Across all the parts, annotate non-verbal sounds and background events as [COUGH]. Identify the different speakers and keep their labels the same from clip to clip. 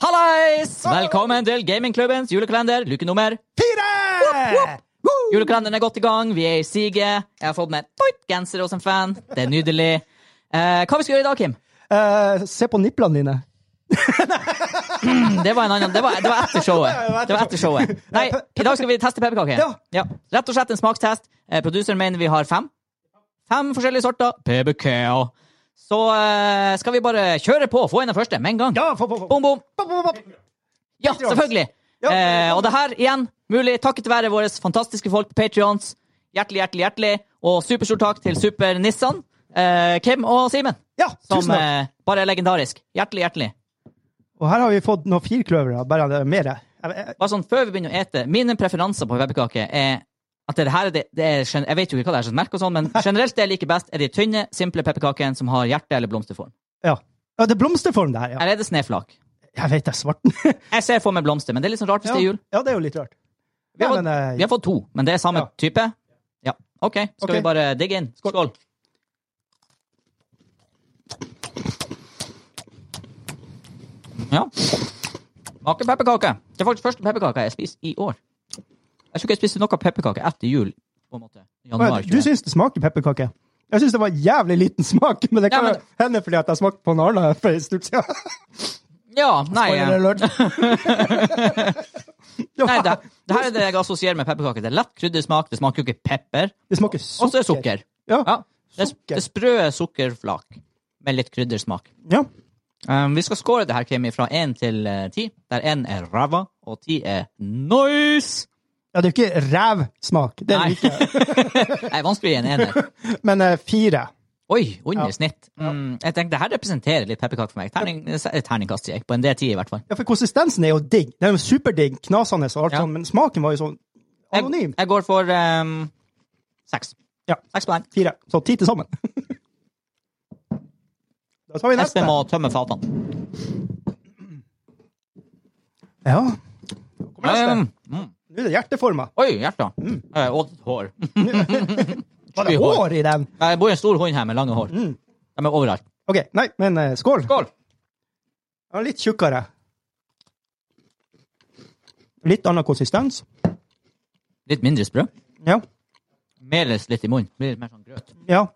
Speaker 1: Hallais!
Speaker 2: Velkommen til Gamingklubbens julekalender, luke nummer.
Speaker 1: Fire!
Speaker 2: Julekalenderen er godt i gang, vi er i siget. Jeg har fått meg en Voight-genser hos en fan. Det er nydelig. Eh, hva vi skal gjøre i dag, Kim?
Speaker 1: Eh, se på nipplene dine.
Speaker 2: Det var, en annen, det var, det var etter [LAUGHS] showet. Det var etter showet. Nei, i dag skal vi teste pepperkaker.
Speaker 1: Ja.
Speaker 2: Rett og slett en smakstest. Eh, produseren mener vi har fem. Fem forskjellige sorter pepperkaker. Så eh, skal vi bare kjøre på og få inn den første med en gang.
Speaker 1: Ja, få, få, få.
Speaker 2: Bom, bom.
Speaker 1: Pop, pop, pop.
Speaker 2: Ja, selvfølgelig!
Speaker 1: Ja.
Speaker 2: Eh, og det her, igjen, mulig takket være våre fantastiske folk på Patrions. Hjertelig, hjertelig, hjertelig. Og superstor takk til Super-Nissan, eh, Kim og Simen,
Speaker 1: Ja,
Speaker 2: som
Speaker 1: tusen takk.
Speaker 2: eh, bare er legendarisk. Hjertelig, hjertelig.
Speaker 1: Og her har vi fått noen firkløvere, bare det er mer. Jeg- jeg-
Speaker 2: Bare sånn, Før vi begynner å ete, mine preferanser på pepperkaker er at det her er det, det er, gen- Jeg vet jo ikke hva det er som merker og sånn,
Speaker 1: [LAUGHS]
Speaker 2: men generelt det jeg liker best, er de tynne, simple pepperkakene som har hjerte- eller blomsterform.
Speaker 1: Ja. ja, det er blomsterform, det her. Ja.
Speaker 2: Eller er det sneflak?
Speaker 1: Jeg vet det er svarten.
Speaker 2: Jeg ser for meg blomster, men det er litt sånn rart hvis
Speaker 1: ja.
Speaker 2: det er jul.
Speaker 1: ja, det er jo litt rart.
Speaker 2: Vi har,
Speaker 1: Ja,
Speaker 2: fått,
Speaker 1: men, eh,
Speaker 2: vi har fått to, men det er samme
Speaker 1: Ja.
Speaker 2: type? Ja. OK, skal
Speaker 1: Ok.
Speaker 2: vi bare digge inn? Skål. Ja. Smaker pepperkake. Det er faktisk første pepperkake jeg spiser i år. Jeg tror ikke jeg spiste noe pepperkake etter jul. på en måte. Januar,
Speaker 1: du syns det smaker pepperkake? Jeg syns det var en jævlig liten smak, men det kan
Speaker 2: Ja, men-
Speaker 1: hende fordi at jeg smakte på en annen for en stund siden.
Speaker 2: ja, nei,
Speaker 1: Spoiler
Speaker 2: eh,
Speaker 1: alert.
Speaker 2: [LAUGHS]
Speaker 1: det,
Speaker 2: nei det,
Speaker 1: var,
Speaker 2: det her er det jeg assosierer med pepperkake. Det er lett kryddersmak, det smaker jo ikke pepper.
Speaker 1: det smaker
Speaker 2: Og så er
Speaker 1: sukker.
Speaker 2: det sukker.
Speaker 1: Ja.
Speaker 2: Ja, det, er-
Speaker 1: Sukker.
Speaker 2: det er sprø sukkerflak med litt kryddersmak.
Speaker 1: ja.
Speaker 2: Um, vi skal score det her, Kim, fra 1 til eh, 10, der 1 er ræva, og 10 er nice!
Speaker 1: Ja, det er jo ikke rævsmak, det er
Speaker 2: Nei.
Speaker 1: det ikke.
Speaker 2: [LAUGHS] Nei, vanskelig å gi en ener.
Speaker 1: Men eh, fire.
Speaker 2: Oi, under
Speaker 1: Ja.
Speaker 2: snitt. Mm, jeg tenkte, det her representerer litt pepperkake for meg. Terning, eh, terningkast sier jeg, på en D10 i hvert fall.
Speaker 1: Ja, for konsistensen er jo digg. Den er jo superdigg, knasende og alt
Speaker 2: Ja.
Speaker 1: sånn, men smaken var jo sånn
Speaker 2: Jeg,
Speaker 1: anonym.
Speaker 2: jeg går for um, 6.
Speaker 1: Ja.
Speaker 2: Seks poeng.
Speaker 1: Fire. Så ti til sammen. [LAUGHS] da tar vi neste.
Speaker 2: Espen må tømme fatene.
Speaker 1: Ja. Kommer neste.
Speaker 2: Um, mm.
Speaker 1: Nå er det hjerteforma.
Speaker 2: Oi, hjertet. Eh, og hår.
Speaker 1: Mm. [LAUGHS]
Speaker 2: [LAUGHS]
Speaker 1: Var det hår i den?
Speaker 2: Jeg bor i en stor hund her med lange hår. De er overalt.
Speaker 1: OK, nei, men eh, skål.
Speaker 2: Skål!
Speaker 1: Den var litt tjukkere. Litt annen konsistens.
Speaker 2: Litt mindre sprø.
Speaker 1: Ja.
Speaker 2: Meles litt i munnen. Blir litt mer sånn grøt.
Speaker 1: Ja.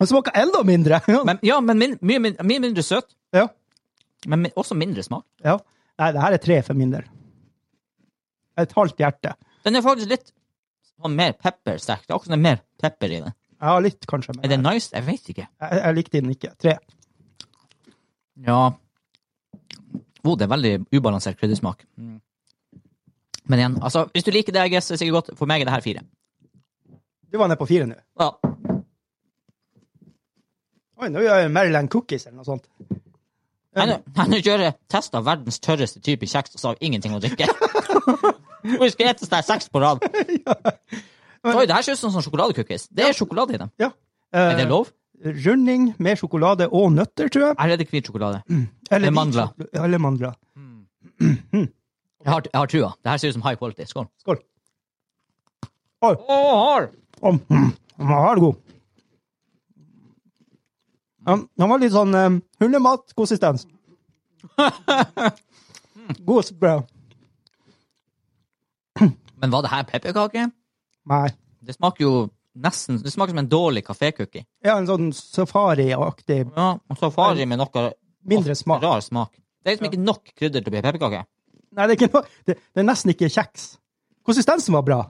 Speaker 1: Den smaker enda mindre. [LAUGHS]
Speaker 2: Men, ja, men min, mye, min, mye mindre søt,
Speaker 1: ja.
Speaker 2: men mi- også mindre smak.
Speaker 1: ja. Nei, det her er tre for min del. Et halvt hjerte.
Speaker 2: Den er faktisk litt sånn mer peppersterk. Det er også mer pepper i den.
Speaker 1: Ja, litt, kanskje. Men
Speaker 2: Er det nice? Jeg vet ikke.
Speaker 1: jeg, jeg likte den ikke. Tre.
Speaker 2: Ja oh, Det er veldig ubalansert kryddersmak. Mm. Men igjen, altså, hvis du liker det, jeg guess, er det sikkert godt. For meg er det her fire.
Speaker 1: Du var nede på fire nå.
Speaker 2: Ja.
Speaker 1: Oi, nå gjør jeg Maryland cookies eller noe sånt.
Speaker 2: Jeg nå kjører jeg test av verdens tørreste type kjeks, og så har jeg ingenting å [LAUGHS] drikke. Og vi skal etes der seks på [LAUGHS] rad. Oi, det her ser ut som sånn sjokoladecookies. Det er sjokolade i dem.
Speaker 1: Ja.
Speaker 2: Er det
Speaker 1: Eh,
Speaker 2: lov?
Speaker 1: runding med sjokolade og nøtter, tror jeg.
Speaker 2: Eller er det hvit sjokolade?
Speaker 1: Eller
Speaker 2: Eller mandler.
Speaker 1: hvit sjokol- Eller mandler.
Speaker 2: Jeg har, jeg har trua. Det her ser ut som high quality. Skål.
Speaker 1: Skål.
Speaker 2: Oh,
Speaker 1: Om, mm, den var god. Ja, den var litt sånn um,
Speaker 2: [LAUGHS]
Speaker 1: hundematkonsistens. God sprø.
Speaker 2: Men var det her pepperkake?
Speaker 1: Nei.
Speaker 2: Det smaker jo nesten Det smaker som en dårlig kafécookie.
Speaker 1: Ja, en sånn safariaktig
Speaker 2: Ja, og safari med noe
Speaker 1: Mindre smak.
Speaker 2: rar smak. Det er liksom ikke nok krydder til å bli pepperkake.
Speaker 1: Nei, det er, ikke noe, det, det er nesten ikke kjeks. Konsistensen var bra.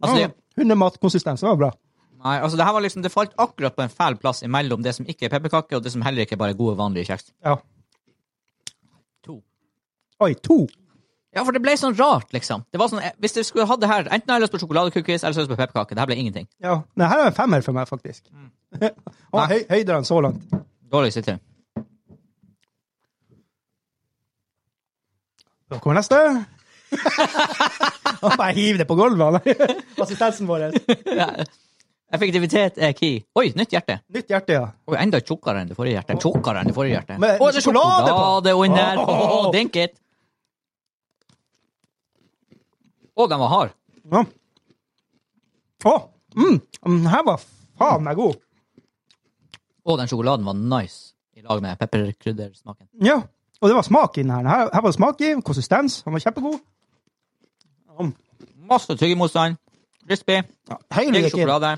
Speaker 2: Altså,
Speaker 1: Ja,
Speaker 2: det,
Speaker 1: Hundematkonsistensen var bra.
Speaker 2: nei, altså, det her var liksom Det falt akkurat på en fæl plass imellom det som ikke er pepperkake, og det som heller ikke er bare gode, vanlige kjeks.
Speaker 1: Ja.
Speaker 2: To.
Speaker 1: Oi, to.
Speaker 2: Ja, for det ble sånn rart, liksom. Det var sånn, eh, Hvis jeg skulle hatt det her, enten har jeg lyst på sjokoladecookies eller så har jeg lyst på pepperkake. Det her ble ingenting.
Speaker 1: Ja. Nei, her er en femmer for meg, faktisk. [LAUGHS] Og høy, høydere enn så langt.
Speaker 2: Dårlig sitter.
Speaker 1: Da kommer neste. Og bare hiv det på gulvet. han. [LAUGHS] Assistensen vår.
Speaker 2: Effektivitet er key. Oi, nytt hjerte.
Speaker 1: Nytt hjerte, ja.
Speaker 2: Og enda tjukkere enn det forrige hjertet. Tjukkere enn det forrige hjertet.
Speaker 1: Med
Speaker 2: Å, det er
Speaker 1: sjokolade på!
Speaker 2: sjokolade under!
Speaker 1: Åh.
Speaker 2: Åh, Dink it! Å, den var hard.
Speaker 1: ja. Å, mm, den her var faen meg god.
Speaker 2: Å, den sjokoladen var nice. i lag med pepperkryddersmaken.
Speaker 1: Ja, og det var smak i den her. her. Her var det smak i, konsistens. Han var kjempegod.
Speaker 2: Masse tyggemotstand. Crispy.
Speaker 1: Ja, Høy
Speaker 2: Egen
Speaker 1: eller ikke?
Speaker 2: sjokolade.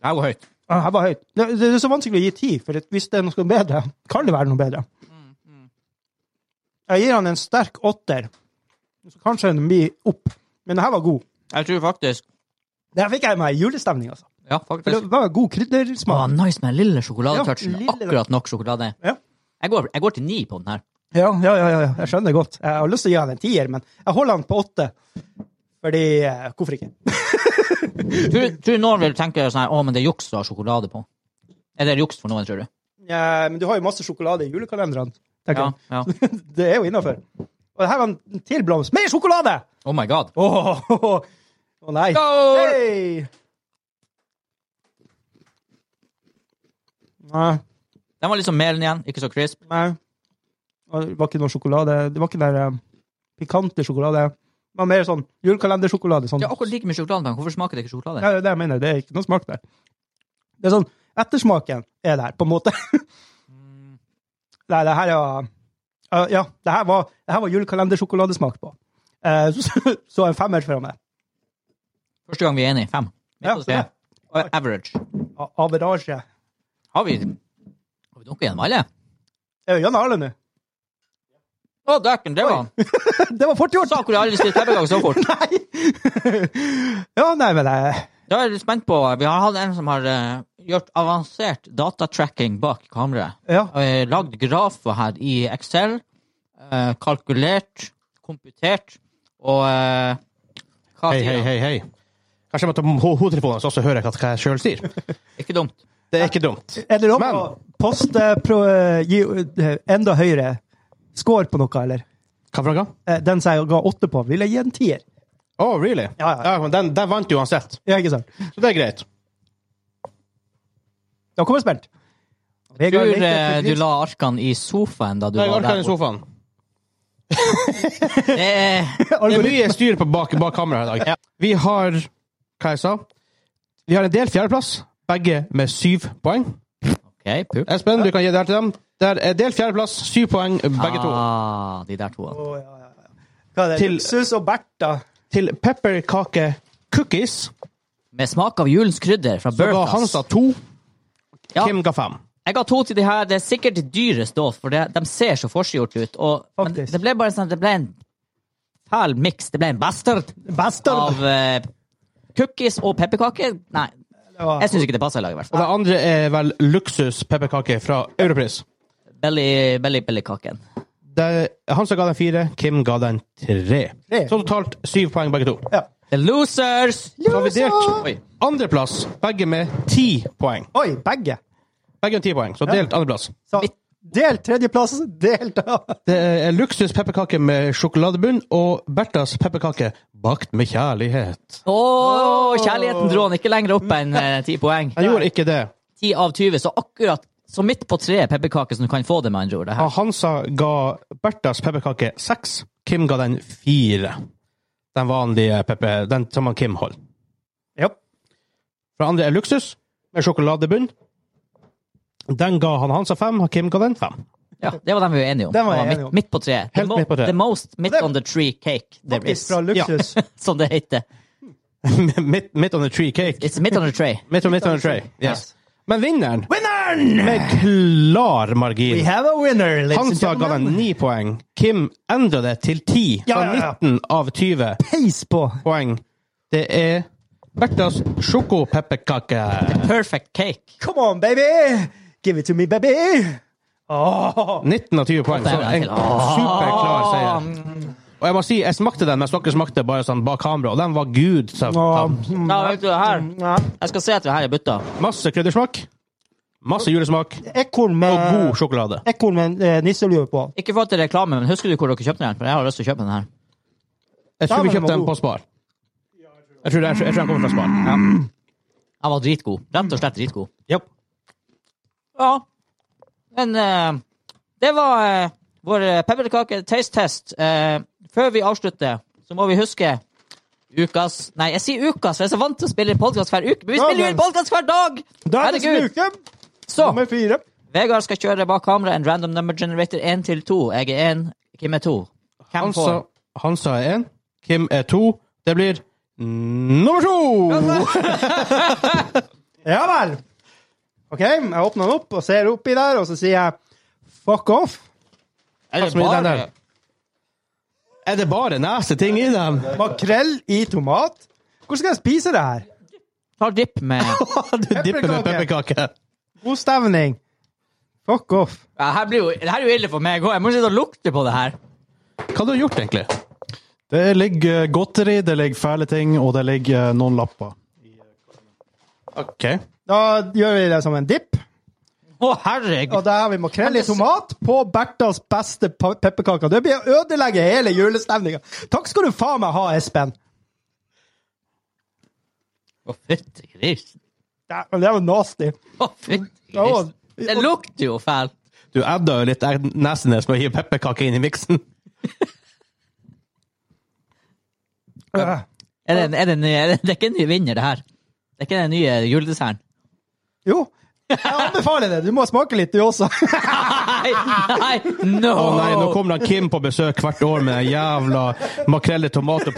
Speaker 2: Det her går høyt.
Speaker 1: Ja, Her var høyt. Det, det er så vanskelig å gi tid, for at hvis det er noe bedre, kan det være noe bedre. Jeg gir han en sterk åtter. Så kanskje den blir opp. Men det her var god.
Speaker 2: Jeg tror faktisk
Speaker 1: Der fikk jeg meg julestemning, altså.
Speaker 2: Ja,
Speaker 1: For
Speaker 2: faktisk.
Speaker 1: det var god
Speaker 2: Å,
Speaker 1: kryddersmak.
Speaker 2: nice med den lille sjokoladetouchen.
Speaker 1: Ja,
Speaker 2: med
Speaker 1: lille-
Speaker 2: Akkurat nok sjokolade.
Speaker 1: Ja.
Speaker 2: Jeg, går, jeg går til ni på den her.
Speaker 1: Ja, ja, ja, ja, jeg skjønner godt. Jeg har lyst til å gi han en tier, men jeg holder han på åtte. Fordi eh, Hvorfor ikke?
Speaker 2: Tror, tror du noen vil tenke sånn her Å, men det er juks å ha sjokolade på. Er det juks for noen, tror du?
Speaker 1: Ja, men du har jo masse sjokolade i julekalenderen. tenker
Speaker 2: Ja.
Speaker 1: jeg. [LAUGHS]
Speaker 2: ja.
Speaker 1: Det er jo innafor. Og her var en til blomst. Mer sjokolade!
Speaker 2: Oh my god.
Speaker 1: Å nei.
Speaker 2: Skål!
Speaker 1: Hei! Nei,
Speaker 2: Den var liksom melen igjen, ikke så crisp.
Speaker 1: nei. Og Det var ikke noe sjokolade. Det var ikke der eh, pikante sjokolade. Det var mer sånn julekalendersjokolade. Sånn.
Speaker 2: Det er akkurat like mye sjokolade, men hvorfor smaker det ikke sjokolade?
Speaker 1: Ja, det er det jeg mener. Det er ikke noe smak der. Det er sånn, ettersmaken er der, på en måte. Nei, det her er ja, Ja, det her var, det her var julekalendersjokoladesmak på. Eh, [LAUGHS] Så, så en femmer fra meg.
Speaker 2: Første gang vi er enige. Fem.
Speaker 1: Ja,
Speaker 2: Midt på
Speaker 1: så det.
Speaker 2: treet. Og Average.
Speaker 1: A- Average.
Speaker 2: Har vi Har vi dunket gjennom alle?
Speaker 1: Er vi gjennom alle nå? [LAUGHS]
Speaker 2: Å, dæken, det var han.
Speaker 1: Det var fort gjort!
Speaker 2: Sa hvor jeg aldri spilte pepperkaker så fort.
Speaker 1: Nei! [LAUGHS] Ja, nei, men eh, det
Speaker 2: Da er jeg litt spent på Vi har hatt en som har eh, gjort avansert datatracking bak kameraet.
Speaker 1: Ja.
Speaker 2: Uh, lagd grafer her i Excel. eh, kalkulert. Komputert. Og eh, hva
Speaker 3: Hei,
Speaker 2: sier
Speaker 3: hei,
Speaker 2: han?
Speaker 3: hei, hei. Kanskje jeg må ta på ho- hodetelefonene, så også hører jeg hva hva jeg sjøl sier.
Speaker 2: Ikke dumt.
Speaker 3: Det er ikke dumt.
Speaker 1: Er det lov
Speaker 3: Men-
Speaker 1: å poste pro, gi eh, enda høyere score på noe, eller?
Speaker 3: Hva for noe?
Speaker 1: Eh, Den som jeg ga åtte på, vil jeg gi en tier.
Speaker 3: Oh, really?
Speaker 1: Ja, ja.
Speaker 3: men den, den vant uansett,
Speaker 1: Ja, ikke sant?
Speaker 3: så det er greit.
Speaker 1: Da kommer jeg spent.
Speaker 2: Tror
Speaker 1: Vegard Leite
Speaker 2: eh, du
Speaker 1: Fredriksen.
Speaker 2: la arkene i sofaen da du
Speaker 3: Jeg
Speaker 2: var
Speaker 3: orker den
Speaker 2: der?
Speaker 3: i sofaen.
Speaker 2: Det er
Speaker 3: Det er
Speaker 1: Algoritme.
Speaker 3: mye styr på bak, bak kamera i dag. Vi har hva jeg sa? Vi har en del fjerdeplass, begge med syv poeng.
Speaker 2: OK, pupp.
Speaker 3: Espen, du kan gi det her til dem. Det er en del fjerdeplass, syv poeng, begge to.
Speaker 2: Ah, de der to.
Speaker 1: Å, ja, ja, ja. Hva er det?
Speaker 3: Til-
Speaker 1: Luksus og Bertha.
Speaker 3: Til pepperkake cookies,
Speaker 2: Med smak av julens krydder fra
Speaker 3: så ga
Speaker 2: Burkas.
Speaker 3: Hansa to,
Speaker 2: Ja.
Speaker 3: Kim ga fem.
Speaker 2: Jeg ga to til de her. Det er sikkert de dyreste òg, for det, de ser så forseggjort ut. Og, men
Speaker 1: Faktisk.
Speaker 2: det ble bare sånn, det ble en fæl miks. Det ble en bastard
Speaker 1: Bastard.
Speaker 2: av eh, cookies og pepperkaker. Nei,
Speaker 1: Ja.
Speaker 2: jeg syns ikke det passer i lag, i hvert
Speaker 3: Og
Speaker 2: fall.
Speaker 3: det andre er vel luksus pepperkake fra Europris.
Speaker 2: Belly, belly, bellykaken.
Speaker 3: det, han som ga den fire, Kim ga den tre.
Speaker 1: Tre.
Speaker 3: Så totalt syv poeng begge to.
Speaker 1: Ja.
Speaker 2: The losers!
Speaker 3: Så har vi
Speaker 2: Oi.
Speaker 3: delt andreplass, begge med ti poeng.
Speaker 1: Oi, begge.
Speaker 3: Begge med ti poeng, så delt andreplass.
Speaker 1: Så
Speaker 2: Mitt-
Speaker 1: del tredjeplass, del da.
Speaker 3: Det er luksus pepperkake med sjokoladebunn og Berthas pepperkake bakt med kjærlighet.
Speaker 2: Å, kjærligheten dro han ikke lenger opp enn eh, ti poeng.
Speaker 3: Han gjorde ikke det.
Speaker 2: Ti av 20, så akkurat så midt på treet pepperkaker som du kan få det, med andre ord. Det her.
Speaker 3: Hansa ga Berthas pepperkake seks, Kim ga den fire. Den vanlige pepper, den som han Kim holder.
Speaker 1: Ja.
Speaker 3: For andre er luksus med sjokoladebunn. Den ga han Hansa fem, Kim ga den fem.
Speaker 2: Ja, det var den vi var enige om.
Speaker 1: Den var jeg
Speaker 2: Det var
Speaker 1: enig om.
Speaker 2: midt, midt på treet. The,
Speaker 3: Helt midt på treet.
Speaker 2: the most midt
Speaker 1: Det-
Speaker 2: on the tree cake there
Speaker 1: Faktisk
Speaker 2: is,
Speaker 1: fra luksus.
Speaker 2: [LAUGHS] som det heter.
Speaker 3: midt, midt on the tree cake.
Speaker 2: It's midt on the tray.
Speaker 3: Midt on, midt on the tray. Yes. Men vinneren,
Speaker 1: Winneren!
Speaker 3: med klar
Speaker 1: We
Speaker 3: margin
Speaker 1: have a winner, ladies and
Speaker 3: Hansa ga den
Speaker 1: gentlemen.
Speaker 3: ni poeng. Kim endra det til ti.
Speaker 1: Ja,
Speaker 3: Så
Speaker 1: ja, ja.
Speaker 3: 19 av 20
Speaker 1: Peis på.
Speaker 3: poeng. Det er Berthas sjokopepperkake.
Speaker 2: Perfect cake.
Speaker 1: Come on, baby! Give it to me, baby! Åh!
Speaker 3: 19 av 20 poeng. Så en superklar seier. Og jeg må si, jeg smakte den, mens dere smakte bare sånn bak kamera, og den var gud. Så,
Speaker 1: Åh, mm,
Speaker 2: Da vet du det her.
Speaker 1: ja.
Speaker 2: Jeg skal se etter det her i butta.
Speaker 3: masse kryddersmak. Masse julesmak.
Speaker 1: Ekorn med,
Speaker 3: Og god sjokolade.
Speaker 1: ekorn med eh, nisselue på.
Speaker 2: Ikke for at det er reklame, men husker du hvor dere kjøpte den? For jeg har lyst til å kjøpe den her.
Speaker 3: Jeg tror
Speaker 1: Ja,
Speaker 3: vi
Speaker 1: men den
Speaker 3: kjøpte
Speaker 1: var
Speaker 3: den
Speaker 1: god.
Speaker 3: på Spar. Jeg tror, det, jeg tror den kommer fra Spar.
Speaker 2: Den var dritgod. Rett og slett dritgod.
Speaker 3: Japp.
Speaker 2: Ja. Men eh, det var eh, vår eh, pepperkake taste test. Eh, før vi avslutter, så må vi huske ukas Nei, jeg sier ukas, for jeg er så vant til å spille podkast hver uke. Men vi spiller jo en podkast hver dag!
Speaker 1: Dagens
Speaker 2: Herregud.
Speaker 1: uke,
Speaker 2: Så
Speaker 1: nummer fire.
Speaker 2: Vegard skal kjøre bak kamera en random number generator 1 til 2. Jeg er 1, Kim er 2. Hvem
Speaker 3: Hansa,
Speaker 2: får?
Speaker 3: Hansa er én, Kim er to. Det blir nummer to!
Speaker 1: Ja vel. OK, jeg åpner den opp og ser oppi der, og så sier jeg fuck off.
Speaker 2: Er det
Speaker 3: som i den
Speaker 2: bare...
Speaker 3: der. Er det bare neste ting [LAUGHS] i dem?
Speaker 1: Makrell i tomat. Hvordan skal jeg spise det her?
Speaker 2: Ta dipp
Speaker 1: [LAUGHS]
Speaker 2: med
Speaker 3: Du dipper med pepperkake.
Speaker 1: God stemning. Fuck off.
Speaker 2: ja, her blir jo, Det her er jo ille for meg òg. Jeg må sitte og lukte på det her.
Speaker 3: Hva har du gjort, egentlig?
Speaker 4: Det ligger eh, godteri, det ligger fæle ting, og det ligger eh, noen lapper.
Speaker 3: OK.
Speaker 1: Da gjør vi det som en dipp.
Speaker 2: Å, herregud.
Speaker 1: Og da har vi makrell i tomat på Bertas beste pa- pepperkaker. Det blir å ødelegge hele julestemninga. Takk skal du faen meg ha, Espen.
Speaker 2: Å, fytti grisen.
Speaker 1: Det det var nasty.
Speaker 2: Å, fytti
Speaker 1: Ja,
Speaker 2: grisen. Det lukter jo fælt.
Speaker 3: Du adda jo litt Nesenes med å hive pepperkake inn i miksen.
Speaker 1: Øh.
Speaker 2: Er det, er det, en ny- er det, det er ikke en ny vinner, det her. Det er ikke den nye juledesserten.
Speaker 1: Jo. Jeg anbefaler det. Du må smake litt, du også. [LAUGHS]
Speaker 2: Nei, nei, no!
Speaker 3: Å nei, nå kommer han Kim på besøk hvert år med den jævla makrell i tomat- og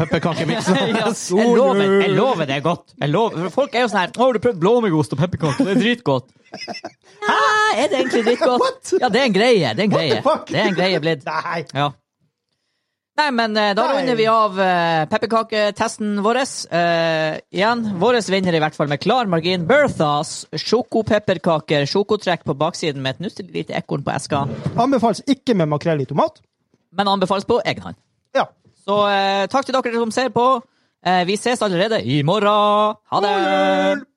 Speaker 2: [LAUGHS]
Speaker 1: [LAUGHS]
Speaker 3: pepperkakemiksen.
Speaker 2: ja, jeg, lover, jeg lover det er godt. Jeg lover. Folk er jo sånn her Å, har du prøvd blåmuggost og pepperkaker? Det er
Speaker 1: [LAUGHS]
Speaker 2: dritgodt. Hæ, er det egentlig dritgodt? Ja, det er en greie. Det er en
Speaker 1: What the
Speaker 2: greie.
Speaker 1: fuck?
Speaker 2: Det er en greie blitt.
Speaker 1: Nei.
Speaker 2: Ja. Nei, men eh, da
Speaker 1: Nei.
Speaker 2: runder vi av eh, pepperkaketesten vår. Eh, igjen, vår vinner i hvert fall med klar margin. Berthas sjokopepperkaker. Sjokotrekk på baksiden med et nusselig lite ekorn på eska.
Speaker 1: Anbefales ikke med makrell i tomat.
Speaker 2: Men anbefales på egen hånd.
Speaker 1: Ja.
Speaker 2: Så eh, takk til dere som ser på. Eh, vi ses allerede i morgen. Ha det!
Speaker 1: God jul!